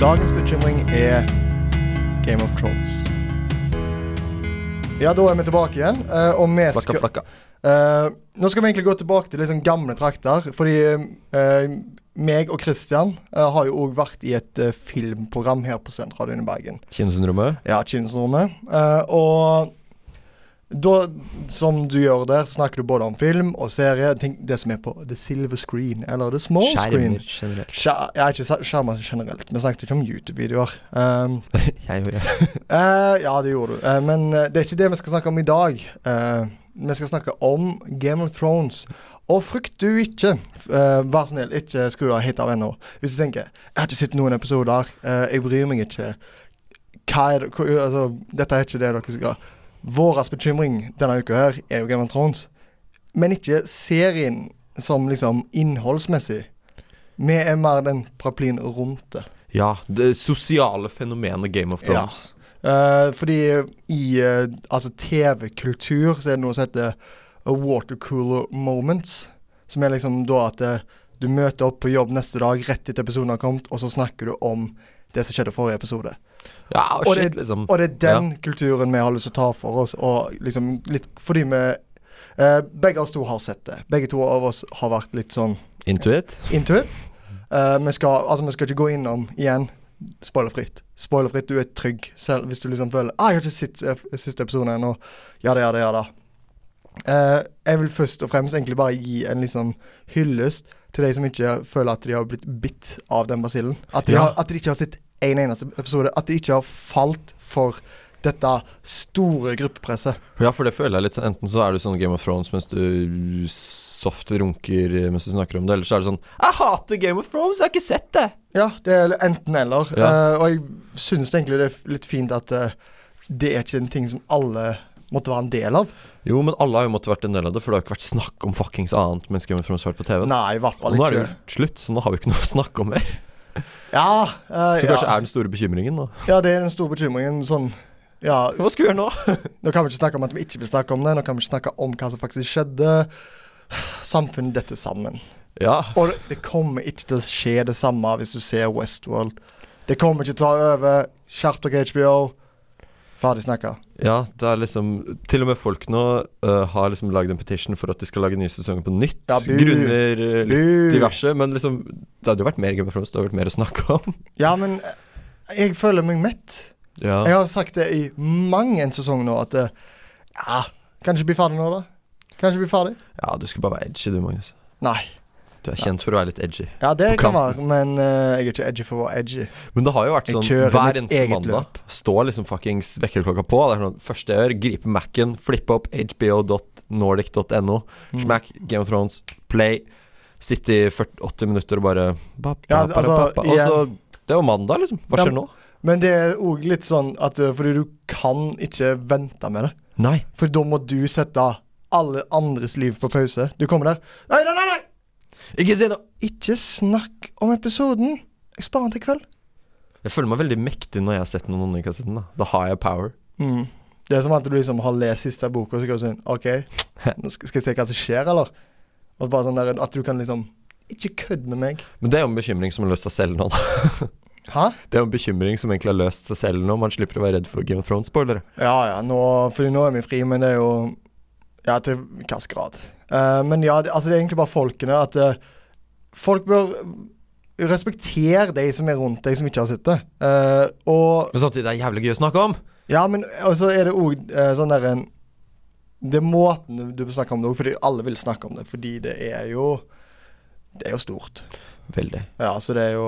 Dagens bekymring er Game of Thrones. Ja, da er vi tilbake igjen. eh, Og vi Flakka, skal, flakka. Eh, nå skal vi egentlig gå tilbake til litt sånn gamle trakter. Fordi eh, meg og Christian eh, har jo òg vært i et eh, filmprogram her på Studentradioen i Bergen. Kinnesyndromet. Ja, Kinnsornet. Eh, og da, som du gjør der, snakker du både om film og serie. Tenk, det som er på the silver screen, eller the small screen. Skjermer generelt. Skjer, ja, ikke sa- skjermer generelt. Vi snakket ikke om YouTube-videoer. Um, Jeg gjorde det. Eh, ja, det gjorde du. Eh, men eh, det er ikke det vi skal snakke om i dag. Eh, vi skal snakke om Game of Thrones. Og frykt du ikke, f- eh, vær så snill, ikke skru av hit av ennå. Hvis du tenker 'Jeg har ikke sett noen episoder. eh, jeg bryr meg ikke'. Hva er det, hva, altså, dette er ikke det dere skal Vår bekymring denne uka her er jo Game of Thrones. Men ikke serien som liksom innholdsmessig. Vi er mer den paraplyen rundt det. Ja. Det sosiale fenomenet Game of Thrones. Eh, fordi i eh, altså TV-kultur så er det noe som heter a water cooler moments. Som er liksom da at eh, du møter opp på jobb neste dag rett etter episoden har kommet, og så snakker du om det som skjedde forrige episode. Ja, Og shit, det- liksom. Og det er den kulturen vi har lyst til å ta for oss, og liksom litt fordi vi eh, Begge oss to har sett det. Begge to av oss har vært litt sånn Into it. Intuit. Eh, vi, skal, altså, vi skal ikke gå innom igjen. Spoilerfritt. Spoilerfritt, du er trygg. Selv hvis du liksom føler ah, 'Jeg har ikke sett eh, siste episode ennå'. Ja da, ja da, ja da. Eh, jeg vil først og fremst egentlig bare gi en liksom hyllest til de som ikke føler at de har blitt bitt av den basillen. At de, Ja. har, at de ikke har sett en eneste episode. At de ikke har falt for dette store gruppepresset. Ja, for det føler jeg litt sånn Enten så er du sånn Game of Thrones mens du soft runker eh, mens du snakker om det, eller så er det sånn Jeg hater Game of Thrones, jeg har ikke sett det! Ja, det er enten eller. Ja. Eh, og jeg syns egentlig det er f- litt fint at eh, det er ikke en ting som alle måtte være en del av. Jo, men alle har jo måttet vært en del av det, for det har jo ikke vært snakk om fuckings annet mens Game of Thrones har vært på TV. Nei, i hvert Og fall nå er det ikke. jo slutt, så nå har vi ikke noe å snakke om mer. Ja, eh, Så kanskje ja. er den store bekymringen, da. ja, det er den store bekymringen. Sånn Ja, Hva skal vi gjøre nå? nå kan vi ikke snakke om at vi ikke vil snakke om det. Nå kan vi ikke snakke om hva som faktisk skjedde. Samfunnet detter sammen. Ja. Og det- det kommer ikke til å skje det samme hvis du ser Westworld. Det kommer ikke til å ta over. Skjerp dere, HBO. Ferdig snakka. ja, det er liksom Til og med folk nå eh, har liksom lagd en petition for at de skal lage nye sesonger på nytt. Ja, bu. Grunner eh, litt Bu. diverse, men liksom Det hadde jo vært mer Game of Thrones, det hadde vært mer å snakke om. Ja, men eh, jeg føler meg mett. Ja. Jeg har sagt det i mang en sesong nå at eh, ja, kanskje bli ferdig nå, da. Kanskje bli ferdig. ja, du skulle bare være edgy du, Magnus. Nei. Du er kjent for å være litt edgy. Ja, det På kan kanten. være, men eh, jeg er ikke edgy for å være edgy. Men det har jo vært Jeg sånn kjører hver mitt eneste eget mandag. Står liksom fuckings vekkerklokka på. Det er sånn første jeg gjør, gripe Mac-en, flippe opp hbo.nordic.no, Mm. smack Game of Thrones, play. Sitte i 40 80 minutter og bare ba, ba, Ja, ba, altså, ba, ba. Og så Det var mandag, liksom. Hva Ja, skjer nå? Men det er òg litt sånn at eh, fordi du kan ikke vente med det. Nei. For da må du sette alle andres liv på pause. Du kommer der. Nei, nei, nei! nei! Ikke si noe! Ikke snakk om episoden! Jeg sparer den til i kveld. Jeg føler meg veldig mektig når jeg har sett noen andre i kassetten. Da Da har jeg power. Mm. Det er som at du liksom har lest siste boka, og så går du sånn OK, nå skal, skal jeg se hva som skjer, eller? Og bare sånn der, At du kan liksom Ikke kødd med meg. Men det er jo en bekymring som har løst seg selv nå. Hæ? Det er jo en bekymring som egentlig har løst seg selv nå. Man slipper å være redd for Game of Thrones-spoilere. Ja ja, nå, fordi nå er vi fri, men det er jo Ja, til hvilken grad. Eh, men ja, det, altså det er egentlig bare folkene. At eh, folk bør respektere de som er rundt deg, som ikke har sett det. Eh, og Men samtidig, det er jævlig gøy å snakke om. Ja, men og så er det òg eh, sånn der en Det er måten du snakker om det òg, fordi alle vil snakke om det. Fordi det er jo Det er jo stort. Veldig. Ja, så det er jo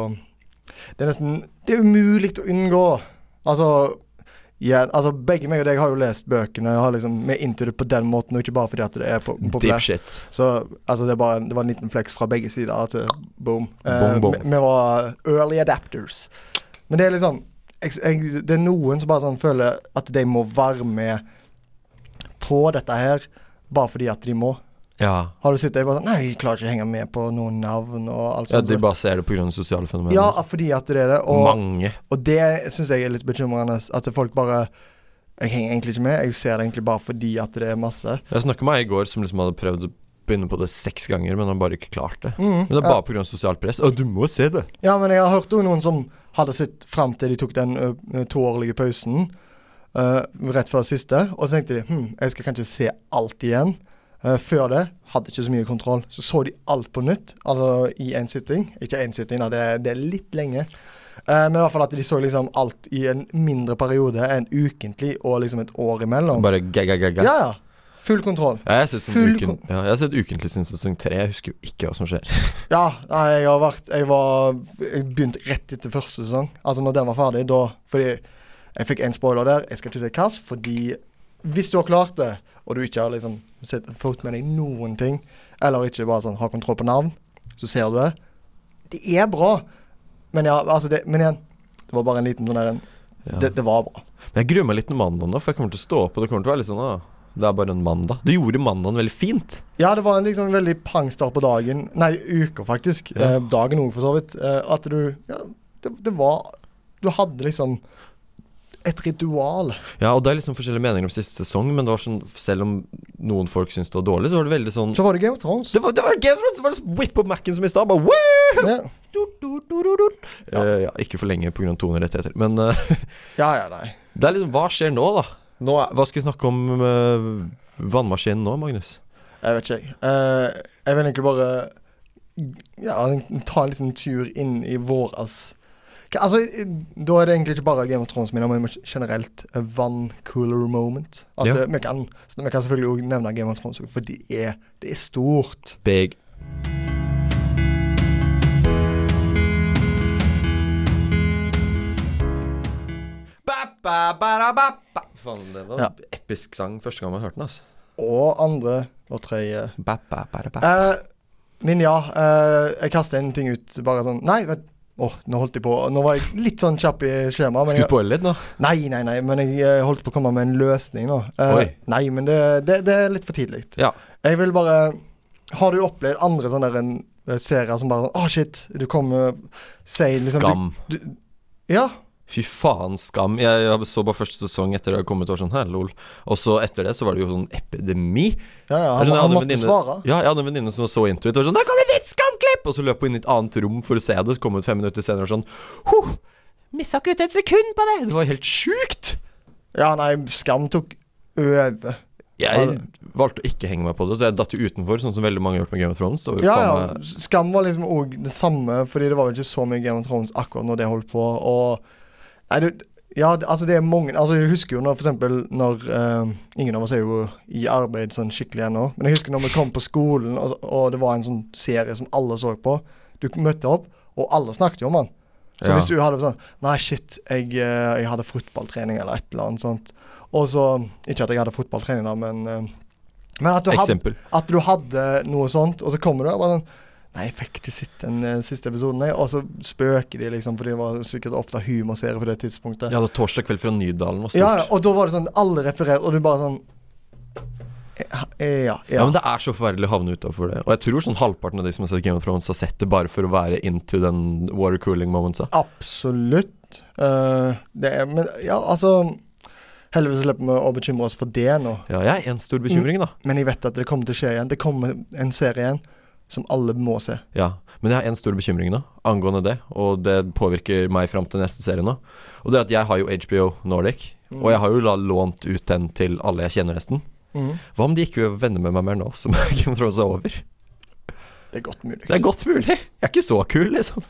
Det er nesten Det er umulig å unngå. Altså ja, altså Begge meg og deg har jo lest bøkene. og Har liksom, vi er into det på den måten, og ikke bare fordi at det er på- Deep populært. shit. Så altså, det, er bare, det var en liten flex fra begge sider. At eh, boom. Eh, Boom, boom. Vi, vi var early adapters. Men det er liksom jeg, jeg, Det er noen som bare sånn føler at de må være med på dette her bare fordi at de må. Ja. Har du sett det? Bare sånn, Nei, jeg klarer ikke å henge med på noen navn og alt Ja, sånt. de bare ser det pga. sosiale fenomener. Ja, fordi at det er det. Og, Mange. og det syns jeg er litt bekymrende. At folk bare Jeg henger egentlig ikke med. Jeg ser det egentlig bare fordi at det er masse. Jeg snakket med ei i går som liksom hadde prøvd å begynne på det seks ganger, men har bare ikke klart det. Mm, Men det er ja. bare pga. sosialt press. Å, du må se det! Ja, men jeg har hørt om noen som hadde sett fram til de tok den ø, toårlige pausen ø, rett før siste, og så tenkte de hm, jeg skal kanskje se alt igjen. Ø, før det hadde ikke så mye kontroll. Så så de alt på nytt, altså i én sitting. Ikke én sitting, da, det, er- det er litt lenge. Eh, men i hvert fall at de så liksom alt i en mindre periode enn ukentlig og liksom et år imellom. Bare ga-ga-ga-ga. Ja, ja. Full kontroll. Ja, jeg har sett sånn Full uken, ja, jeg har sett Ukentlig siden sesong tre. Jeg husker jo ikke hva som skjer. Ja, nei, jeg har vært Jeg var Jeg begynte rett etter første sesong. Altså når den var ferdig, da Fordi jeg fikk en spoiler der. Jeg skal ikke si hvilken, fordi hvis du har klart det, og du ikke har liksom sett, fått med deg noen ting, eller ikke bare sånn har kontroll på navn, så ser du det. Det er bra, men ja, altså det, Men igjen, det var bare en liten sånn der en- Ja. det, det var bra. Men jeg gruer meg litt til mandagen nå, for jeg kommer til å stå opp, og det kommer til å være litt sånn «Å, Det er bare en mandag. Du gjorde mandagen veldig fint. Ja, det var en liksom veldig pangstart på dagen. Nei, uka faktisk. Ja. Eh, dagen òg, for så vidt. Eh, at du Ja, det, det var Du hadde liksom et ritual. Ja, og det er liksom forskjellige meninger om siste sesong, men det var sånn selv om noen folk syntes det var dårlig, så var det veldig sånn Så var det Game of Thrones. Det var, det var Game of Thrones! Det var sånn whip up Mac-en som i stad. Bare woo! Ja, Du, du, du, du, du. Eh, ja, ikke for lenge pga. tonerettigheter. Men eh, ja, ja nei. det er liksom Hva skjer nå, da? Nå er, hva skal vi snakke om eh, vannmaskinen nå, Magnus? Jeg vet ikke, jeg. Eh, jeg vil egentlig bare ja, ta en liten tur inn i våras. Hva- Altså, i- da er det egentlig ikke bare Game of Thrones mine, men generelt eh, vann-cooler moment. At Ja. eh, vi, kan, vi kan selvfølgelig òg nevne Game of Thrones, for det er, det er stort. Big. Ba, ba, ba, da, ba, ba. Faen, det var Ja. en episk sang første gang man hørte den. altså Og andre og tredje. ba, ba, ba, da, ba. Eh, men ja, eh, jeg kaster en ting ut bare sånn Nei, vent. Åh, nå holdt jeg på. Nå var jeg litt sånn kjapp i skjemaet. men Skal vi jeg- spoile litt nå? Nei, nei, nei, men jeg eh, holdt på å komme med en løsning nå. Eh, Oi. Nei, men det, det, det er litt for tidlig. Ja. Jeg vil bare Har du opplevd andre sånne der, en, eh, serier som bare sånn Å, shit. Du kommer Sier liksom du- Skam. Du, ja. Fy faen, skam. Jeg, jeg så bare første sesong etter det hadde kommet. og var Sånn, «Hæ, lol. Og så etter det så var det jo sånn epidemi. sånn, Ja, ja, han, Jeg han skjønner, jeg hadde en måtte venninne- svare. Ja, jeg hadde en venninne som var så into it. Og sånn, der kommer det ditt skamklipp! Og så løp hun inn i et annet rom for å se det, så kom hun ut fem minutter senere og sånn Huh! Missa ikke ut et sekund på det! Det var helt sjukt! Ja, nei, Skam tok over. Ja, Jeg det- valgte å ikke henge meg på det, så jeg datt jo utenfor, sånn som veldig mange har gjort med Game of Thrones. Det var jo Ja, faen ja. meg- Skam var liksom òg det samme, fordi det var vel ikke så mye Game of Thrones akkurat når det holdt på. Og Nei, det, ja, det- altså det er mange Altså Jeg husker jo når for eksempel når eh, Ingen av oss er jo i arbeid sånn skikkelig ennå, men jeg husker når vi kom på skolen, og, og det var en sånn serie som alle så på. Du møtte opp, og alle snakket jo om den. Så Ja. hvis du hadde sånn Nei, shit, jeg, eh, jeg hadde fotballtrening eller et eller annet sånt. Og så Ikke at jeg hadde fotballtrening, da, men eh, Men at du hadde Eksempel. at du hadde noe sånt, og så kommer du og bare sånn Nei, jeg fikk ikke sett den eh, siste episoden, jeg. Og så spøker de, liksom, fordi det var sikkert ofte humorserie på det tidspunktet. Ja, det var torsdag kveld fra Nydalen var stort. Ja, Ja, ja, og da var det sånn Alle refererer, og du bare sånn Ja, ja. ja. men det er så forferdelig å havne utafor det. Og jeg tror sånn halvparten av de som har sett Game of Thrones, har sett det bare for å være into den water cooling momenta. Absolutt. Eh, det er Men ja, altså Heldigvis slipper vi å bekymre oss for det nå. Ja, jeg er en stor bekymring, da. Men jeg vet at det kommer til å skje igjen. Det kommer en serie igjen som alle må se. Ja, Men jeg har en stor bekymring nå angående det, og det påvirker meg fram til neste serie nå. Og det er at jeg har jo HBO Nordic, og jeg har jo da lånt ut den til alle jeg kjenner, nesten. Mhm. Hva om de ikke vil vende med meg mer nå som Game of Thrones er over? Det er godt mulig. Det er godt mulig. Jeg er ikke så kul, liksom.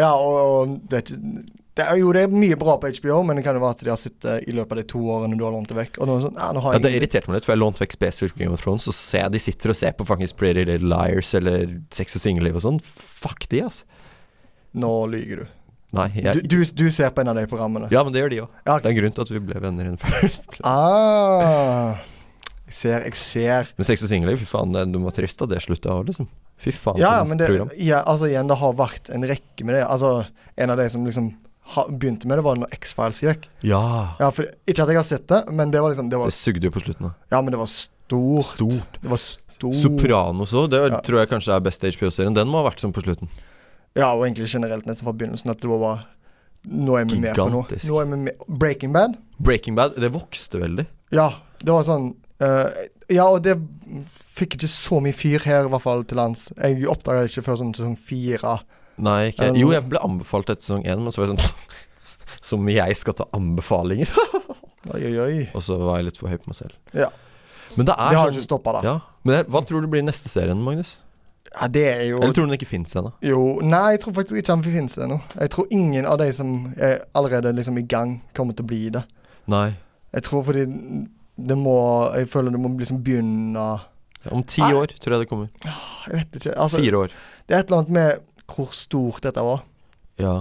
Ja, og, og det, er ikke- det er jo det er mye bra på HBO, men det kan jo være at de har sittet i løpet av de to årene du har lånt det vekk. Og nå er det sånn, ja, nå har Ja, jeg det irriterte meg litt, for jeg lånte vekk spesifikt Game of Thrones, og ser jeg de sitter og ser på faktisk Pretty Little Liars eller Sex og singelliv og sånn. Fuck de, altså. Nå lyver du. Nei, jeg du, du. Du ser på en av de programmene. Ja, men det gjør de òg. Ja, Det er en grunn til at vi ble venner in first place. Ah, jeg ser, jeg ser. Men Sex og singelliv, fy faen, det- du var trist da det slutta òg, liksom. Fy faen, Ja, ja, for noe men det, program. ja, altså, igjen, det har vært en rekke med det. Altså, en av de som liksom ha, begynte med det, var når X-Files gikk. Ja. Ja, for, ikke at jeg har sett det, men det var liksom det Det var, sugde jo på slutten. da. Ja, men det var stort. Stort. Det var stort. Sopranos òg, det oh. Ja. tror jeg kanskje er beste HBO-serien. Den må ha vært sånn på slutten. Ja, og egentlig generelt nesten fra begynnelsen at det var bare Nå er vi med på noe. Gigantisk. Nå er vi med. Breaking Bad? Breaking Bad, det vokste veldig. Ja, det var sånn eh, Ja, og det fikk ikke så mye fyr her, i hvert fall til lands. Jeg oppdaga det ikke før sånn sesong fire. Nei, ikke Er det Jo, noe- jeg ble anbefalt etter sesong én, men så var jeg sånn Som jeg skal ta anbefalinger! Oi, oi, oi. Og så var jeg litt for høy på meg selv. Ja. Men det er Det har jo sånn- ikke stoppa, da. ja. Men det, hva tror du blir neste serien, Magnus? Ja, det er jo Eller tror du den ikke fins ennå? Jo, nei, jeg tror faktisk ikke han finnes ennå. Jeg tror ingen av de som er allerede liksom i gang, kommer til å bli det. Nei. Jeg tror fordi det må Jeg føler det må liksom begynne Om ti Nei. år tror jeg det kommer. Jeg vet ikke. Altså, Fire år. det er et eller annet med hvor stort dette var. Ja.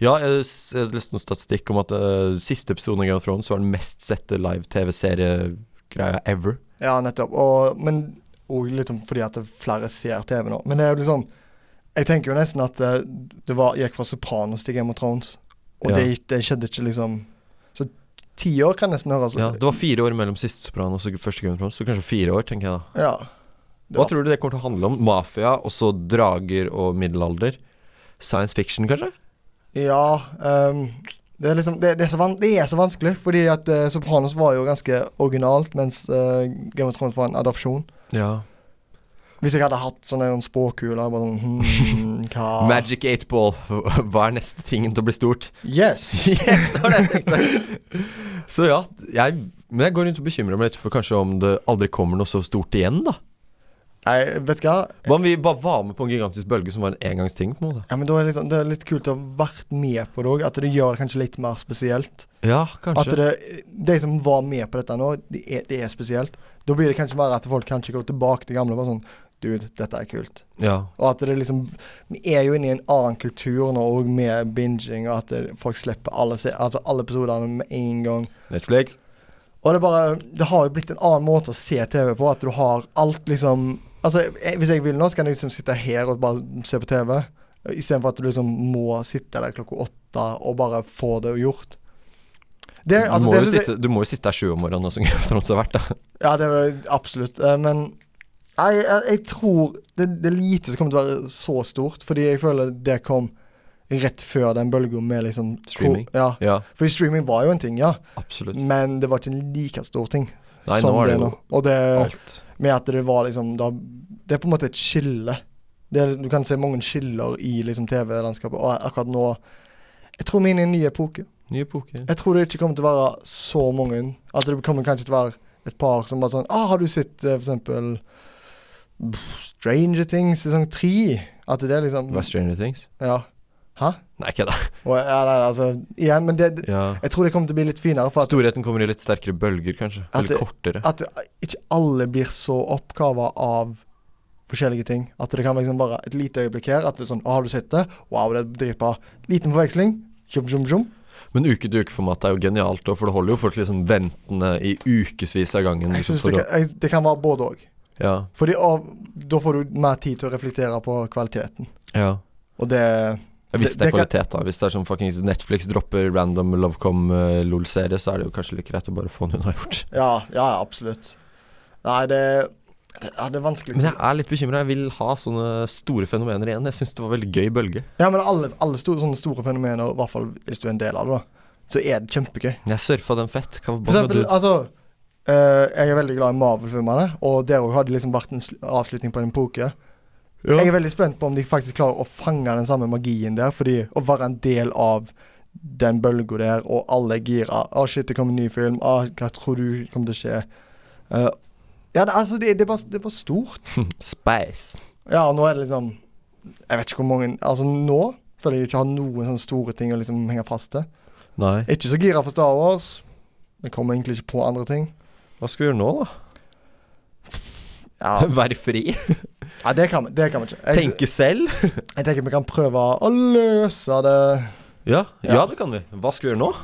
Ja, jeg s- jeg leste noen statistikk om at eh, siste episode av Game of Thrones var den mest sette live-TV-seriegreia ever. Ja, nettopp. Og, men og litt om fordi at det er flere ser TV nå. Men det er jo liksom Jeg tenker jo nesten at eh, det var, gikk fra Sopranos til Game of Thrones. Og Ja. det, det skjedde ikke liksom Så ti år kan nesten høres Ja, det var fire år mellom siste Sopranos og første Game of Thrones, så kanskje fire år, tenker jeg da. Ja. Det Hva var- tror du det kommer til å handle om? Mafia, og så drager og middelalder? Science fiction, kanskje? Ja, ehm, det, er liksom, det, det, er så van, det er så vanskelig, fordi at eh, Sopranos var jo ganske originalt, mens eh, Game of Thrones var en adopsjon. Ja. Hvis jeg hadde hatt sånne noen spåkuler bare sånn hmm, hva Magic 8-ball. Hva er neste tingen til å bli stort? Yes! Yes, det var det jeg tenkte. Så ja, jeg, men jeg går rundt og bekymrer meg litt for kanskje om det aldri kommer noe så stort igjen, da. Nei, vet du hva? Hva om vi bare var med på en gigantisk bølge som var en engangsting? på en måte? Ja, men da er det, litt, det er litt kult å ha vært med på det òg. At det gjør det kanskje litt mer spesielt. Ja, At kanskje. det, De som var med på dette nå, det er, det er spesielt. Da blir det kanskje mer at folk kanskje går tilbake til gamle og bare sånn Dude, dette er kult. Ja. Og at det liksom Vi er jo inne i en annen kultur nå òg med binging, og at det, folk slipper alle, se, altså alle episodene med en gang. Netflix. Og det er bare Det har jo blitt en annen måte å se TV på, at du har alt liksom Altså, jeg, hvis jeg vil nå, så kan jeg liksom sitte her og bare se på TV. Istedenfor at du liksom må sitte der klokka åtte og bare få det gjort. Det, du, altså, må det, jo synes jeg- sitte, du må jo sitte her sju om morgenen nå som Game of Thrones har vært, da. Ja, det er absolutt. Eh, Men nei, jeg, jeg tror det, det er lite som kommer til å være så stort, fordi jeg føler det kom rett før den bølga med liksom Streaming. Ja, Ja, fordi streaming var jo en ting, ja, absolutt. men det var ikke en like stor ting Nei, som nå er det det nå. jo Og det alt. med at det var liksom da, Det er på en måte et skille. Det er, du kan se mange skiller i liksom TV-landskapet, og akkurat nå Jeg tror vi er inne i en ny epoke. Ny epoke. Jeg tror det ikke kommer til å være så mange. At det kommer kanskje til å være et par som bare sånn ah, 'Har du sett eh, for eksempel Stranger Things sesong tre?' At det er liksom Hva er Stranger Things? Ja. Hæ? Nei, ikke det. Og, ja, nei, altså Igjen, men det, det, Ja. jeg tror det kommer til å bli litt finere. For at, Storheten kommer i litt sterkere bølger, kanskje. At Eller det- kortere. at det- ikke alle blir så oppgava av forskjellige ting. At det kan være liksom bare et lite øyeblikk her. At det er sånn 'Å, har du sett det?' Wow, det er dritbra. Liten forveksling. Tjum, tjum, tjum. Men uke-til-uke-formatet er jo genialt, og for det holder jo folk liksom ventende i ukevis av gangen. Jeg liksom, synes for det, kan- jeg- det kan være både òg. å- ja, Fordi av, Da får du mer tid til å reflektere på kvaliteten. ja. Og det Ja, Hvis Det- det er det kan- kvalitet, da. Hvis det er sånn fuckings Netflix dropper random Lovecom-LOL-serie, så er det jo kanskje litt greit å bare få den unnagjort. Ja, ja, absolutt. Nei, det, det, ja, det er vanskelig. Men jeg er litt bekymra. Jeg vil ha sånne store fenomener igjen. Jeg syns det var veldig gøy bølge. Ja, men alle, alle store, sånne store fenomener, i hvert fall hvis du er en del av det, da, så er det kjempegøy. Jeg surfa den fett. Hva var For båndet eksempel, ut? altså eh, Jeg er veldig glad i Marvel-filmene, og der òg har det liksom vært en sl- avslutning på en epoke. altså, Jeg Ja. er veldig spent på om de faktisk klarer å fange den samme magien der, fordi å være en del av den bølga der, og alle er gira. Å, shit, det kommer en ny film. Å, hva tror du kommer til å skje? Eh, ja, det, altså, det, det, er bare, det er bare stort. Space. Ja, og nå er det liksom Jeg vet ikke hvor mange Altså, nå føler jeg ikke har noen sånne store ting å liksom henge fast til. Nei. Jeg er Ikke så gira for Star Wars. Jeg kommer egentlig ikke på andre ting. Hva skal vi gjøre nå, da? Ja, Være fri? ja det, kan, vi- det kan vi ikke. Jeg, Tenke selv? jeg tenker vi kan prøve å løse det. Ja. ja, Ja. det kan vi. Hva skal vi gjøre nå?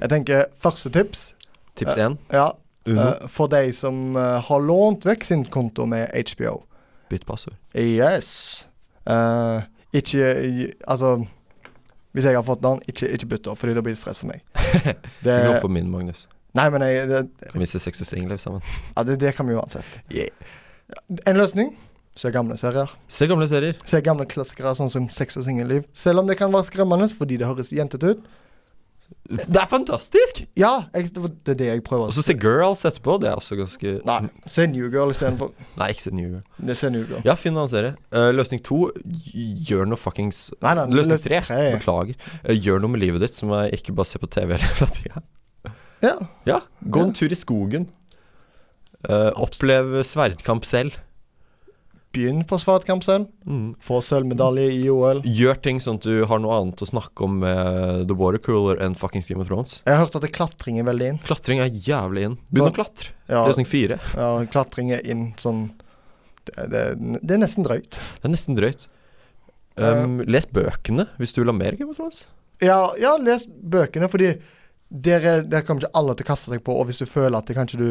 Jeg tenker første tips. Tips én. Ja, Uno. Eh, for de som eh, har lånt vekk sin konto med HBO. Bytt passord. Yes. Eh, ikke i- Altså, hvis jeg har fått den, ikke, ikke bytt det, fordi da blir det stress for meg. Det, Du kan få min, Magnus. nei, men jeg, det, Kan vi se Sex og Singelliv sammen? ja, det, det kan vi uansett. Yeah. En løsning? Se gamle serier. Se gamle serier. Se gamle klassikere sånn som Sex og singelliv. Selv om det kan være skremmende fordi det høres jentete ut. Det er fantastisk! Ja, jeg, det er det jeg prøver. Og så se Girls etterpå. Det er også ganske Nei, se New Girl istedenfor. Nei, ikke se New Girl. Det ser New Girl. Ja, finn en annen serie. Eh, løsning to gjør noe fuckings Nei, nei, Løsning løs- tre. tre. Beklager. Eh, gjør noe med livet ditt som er ikke bare se på TV hele tida. Ja. Ja, gå Ja. en tur i skogen. Eh, opplev sverdkamp selv. Begynn på sverdkamp selv. Mm. Få sølvmedalje i OL. Gjør ting sånn at du har noe annet å snakke om med The Watercooler enn fuckings Game of Thrones. Jeg har hørt at det klatring er veldig inn. Klatring er jævlig inn. Begynn å klatre. Ja, Løsning fire. ja klatring er inn sånn det, det, det er nesten drøyt. Det er nesten drøyt. Um, les bøkene hvis du vil ha mer Game of Thrones. Ja, ja les bøkene, fordi der, er, der kommer ikke alle til å kaste seg på. Og hvis du føler at det kanskje du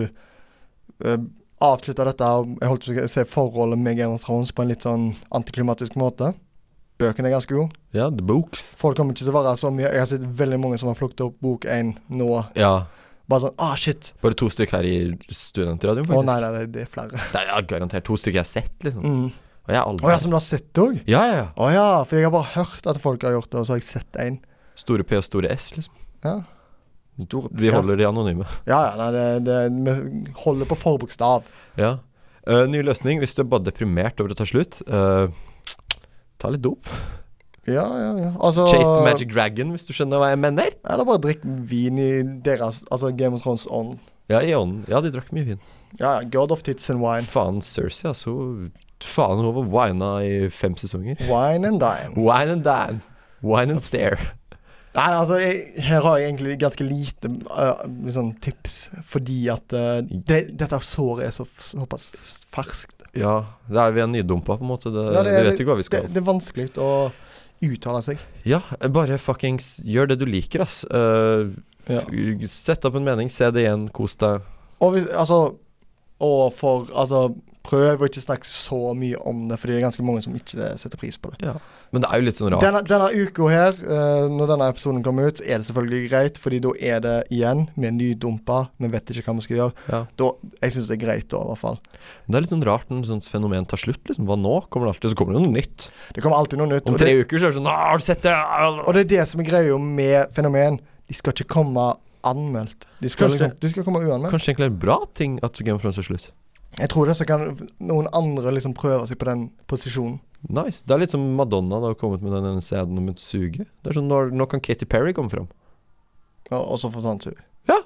eh, avslutter dette og Jeg holdt på å si forholdet med Game of Thrones på en litt sånn antiklimatisk måte. Bøkene er ganske gode. Ja, The Books. Folk kommer ikke til å være så mye Jeg har sett veldig mange som har plukket opp bok én nå. Ja. Bare sånn Ah, shit! Bare to stykk her i studentradioen, Å faktisk. nei, nei, det- det er flere. Det er ja, garantert to stykker jeg har sett, liksom. Mm. Og jeg har Å aldri ja, som du har sett det òg? Ja, ja, ja. Å ja, for jeg har bare hørt at folk har gjort det, og så har jeg sett én. Store P og store S, liksom. Ja. Vi ja. holder de anonyme. Ja, ja, nei, det, det, vi holder på forbokstav. Ja. Eh, ny løsning hvis du er bare deprimert over å ta slutt. eh, ta litt dop. Ja, ja, ja. Altså Chase the Magic Dragon, hvis du skjønner hva jeg mener. Eller bare drikk vin i deres Altså Game of Thrones ånd. Ja, i ånden. Ja, de drakk mye vin. Ja, ja. God of tits and wine. Faen, Cersei, altså. Faen, hun var wina i fem sesonger. Wine and dine. Wine and dan. Wine and stare. Nei, altså, jeg, her har jeg egentlig ganske lite øh, sånn tips, fordi at øh, det, dette såret er så, såpass ferskt. Ja, det er vi er nydumpa, på en måte. Det, Ja, det er vi litt- Eh, vet ikke hva vi Det, skal. det er vanskelig å uttale seg. Ja, bare fuckings gjør det du liker, ass. Eh, Ja. f- Sett opp en mening, se det igjen, kos deg. Og hvis, altså Og for Altså, prøv å ikke snakke så mye om det, fordi det er ganske mange som ikke setter pris på det. Men det er jo litt sånn rart. Denne, denne uka her, eh, når denne episoden kommer ut, er det selvfølgelig greit, fordi da er det igjen med nydumpa. Vi vet ikke hva vi skal gjøre. Ja. Da, jeg syns det er greit da, i hvert fall. Det er litt sånn rart når et sånt fenomen tar slutt. liksom Hva nå? Kommer det alltid, så kommer det noe nytt. Det kommer alltid noe nytt. Om Og det, tre uker så er det sånn «Ah, Har du sett det? og det er det som er greia med fenomen. De skal ikke komme anmeldt. De skal, Kanskje- liksom, de skal komme uanmeldt. Kanskje egentlig er det en bra ting at Game of Thrones er slutt. Jeg tror det, så kan noen andre liksom prøve seg på den posisjonen. Nice. Det er litt som Madonna da har kommet med den ene CD-en og begynt å suge. Det er sånn, nå, nå kan Katy Perry komme fram. Og, og så forsvant hun.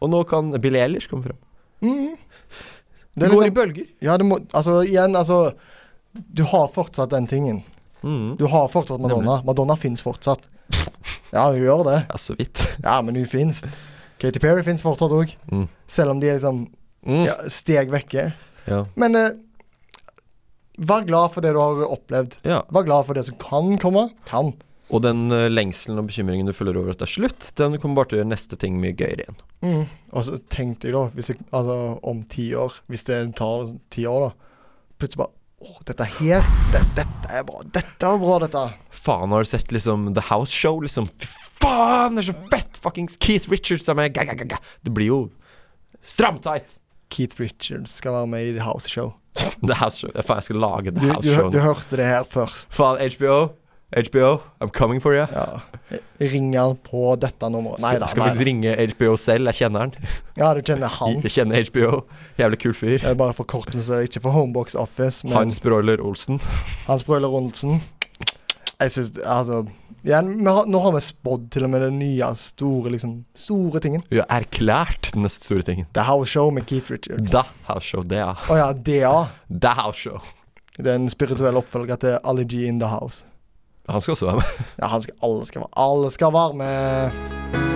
Og nå kan Billie Eilish komme fram. Mhm. Det, er går liksom- i bølger. Ja, det må Altså, igjen, altså Du har fortsatt den tingen. Mhm. Du har fortsatt Madonna. Madonna fins fortsatt. Ja, hun gjør det. Ja, så vidt. Ja, men hun fins. Katy Perry fins fortsatt òg. Mm. Selv om de er liksom Mm. ja, steg vekke. Ja. Men eh, vær glad for det du har opplevd. ja. Vær glad for det som kan komme. Kan. Og den eh, lengselen og bekymringen du føler over at det er slutt, den kommer bare til å gjøre neste ting mye gøyere igjen. Mm. Og så tenk deg, da, hvis det, altså, om ti år, hvis det tar ti år, da. Plutselig bare Å, dette her, det, dette er bra. Dette var bra, dette. Faen, har du sett liksom The House Show? Liksom, fy faen, det er så fett! Fuckings Keith Richards er med! Ga, ga, ga, ga. Det blir jo stramtight! Keith Richards skal være med i The House Show. The House Show. Ja, Faen, jeg skal lage Du, The House du, hø- Show. du hørte det her først. Faen, HBO. HBO, I'm coming for you. Ja. Ringer han på dette nummeret? Nei da. skal skal vi ringe HBO selv? Jeg kjenner han. Ja, du kjenner han. Jeg kjenner HBO. Jævlig kul fyr. Det er bare forkortelse, ikke for Homebox Office, men Hans Broiler Olsen. Hans Brøyler Olsen. Jeg syns Altså igjen, vi har, Nå har vi spådd til og med den nye, store liksom, store tingen. Vi har erklært den neste store tingen. The House Show med Keith Richards. The House Show. Det er Å ja, DA. The House Show. Det er en spirituell oppfølger til Ali G in the House. Han skal også være med. Ja, han skal, alle, skal, være- alle skal være med.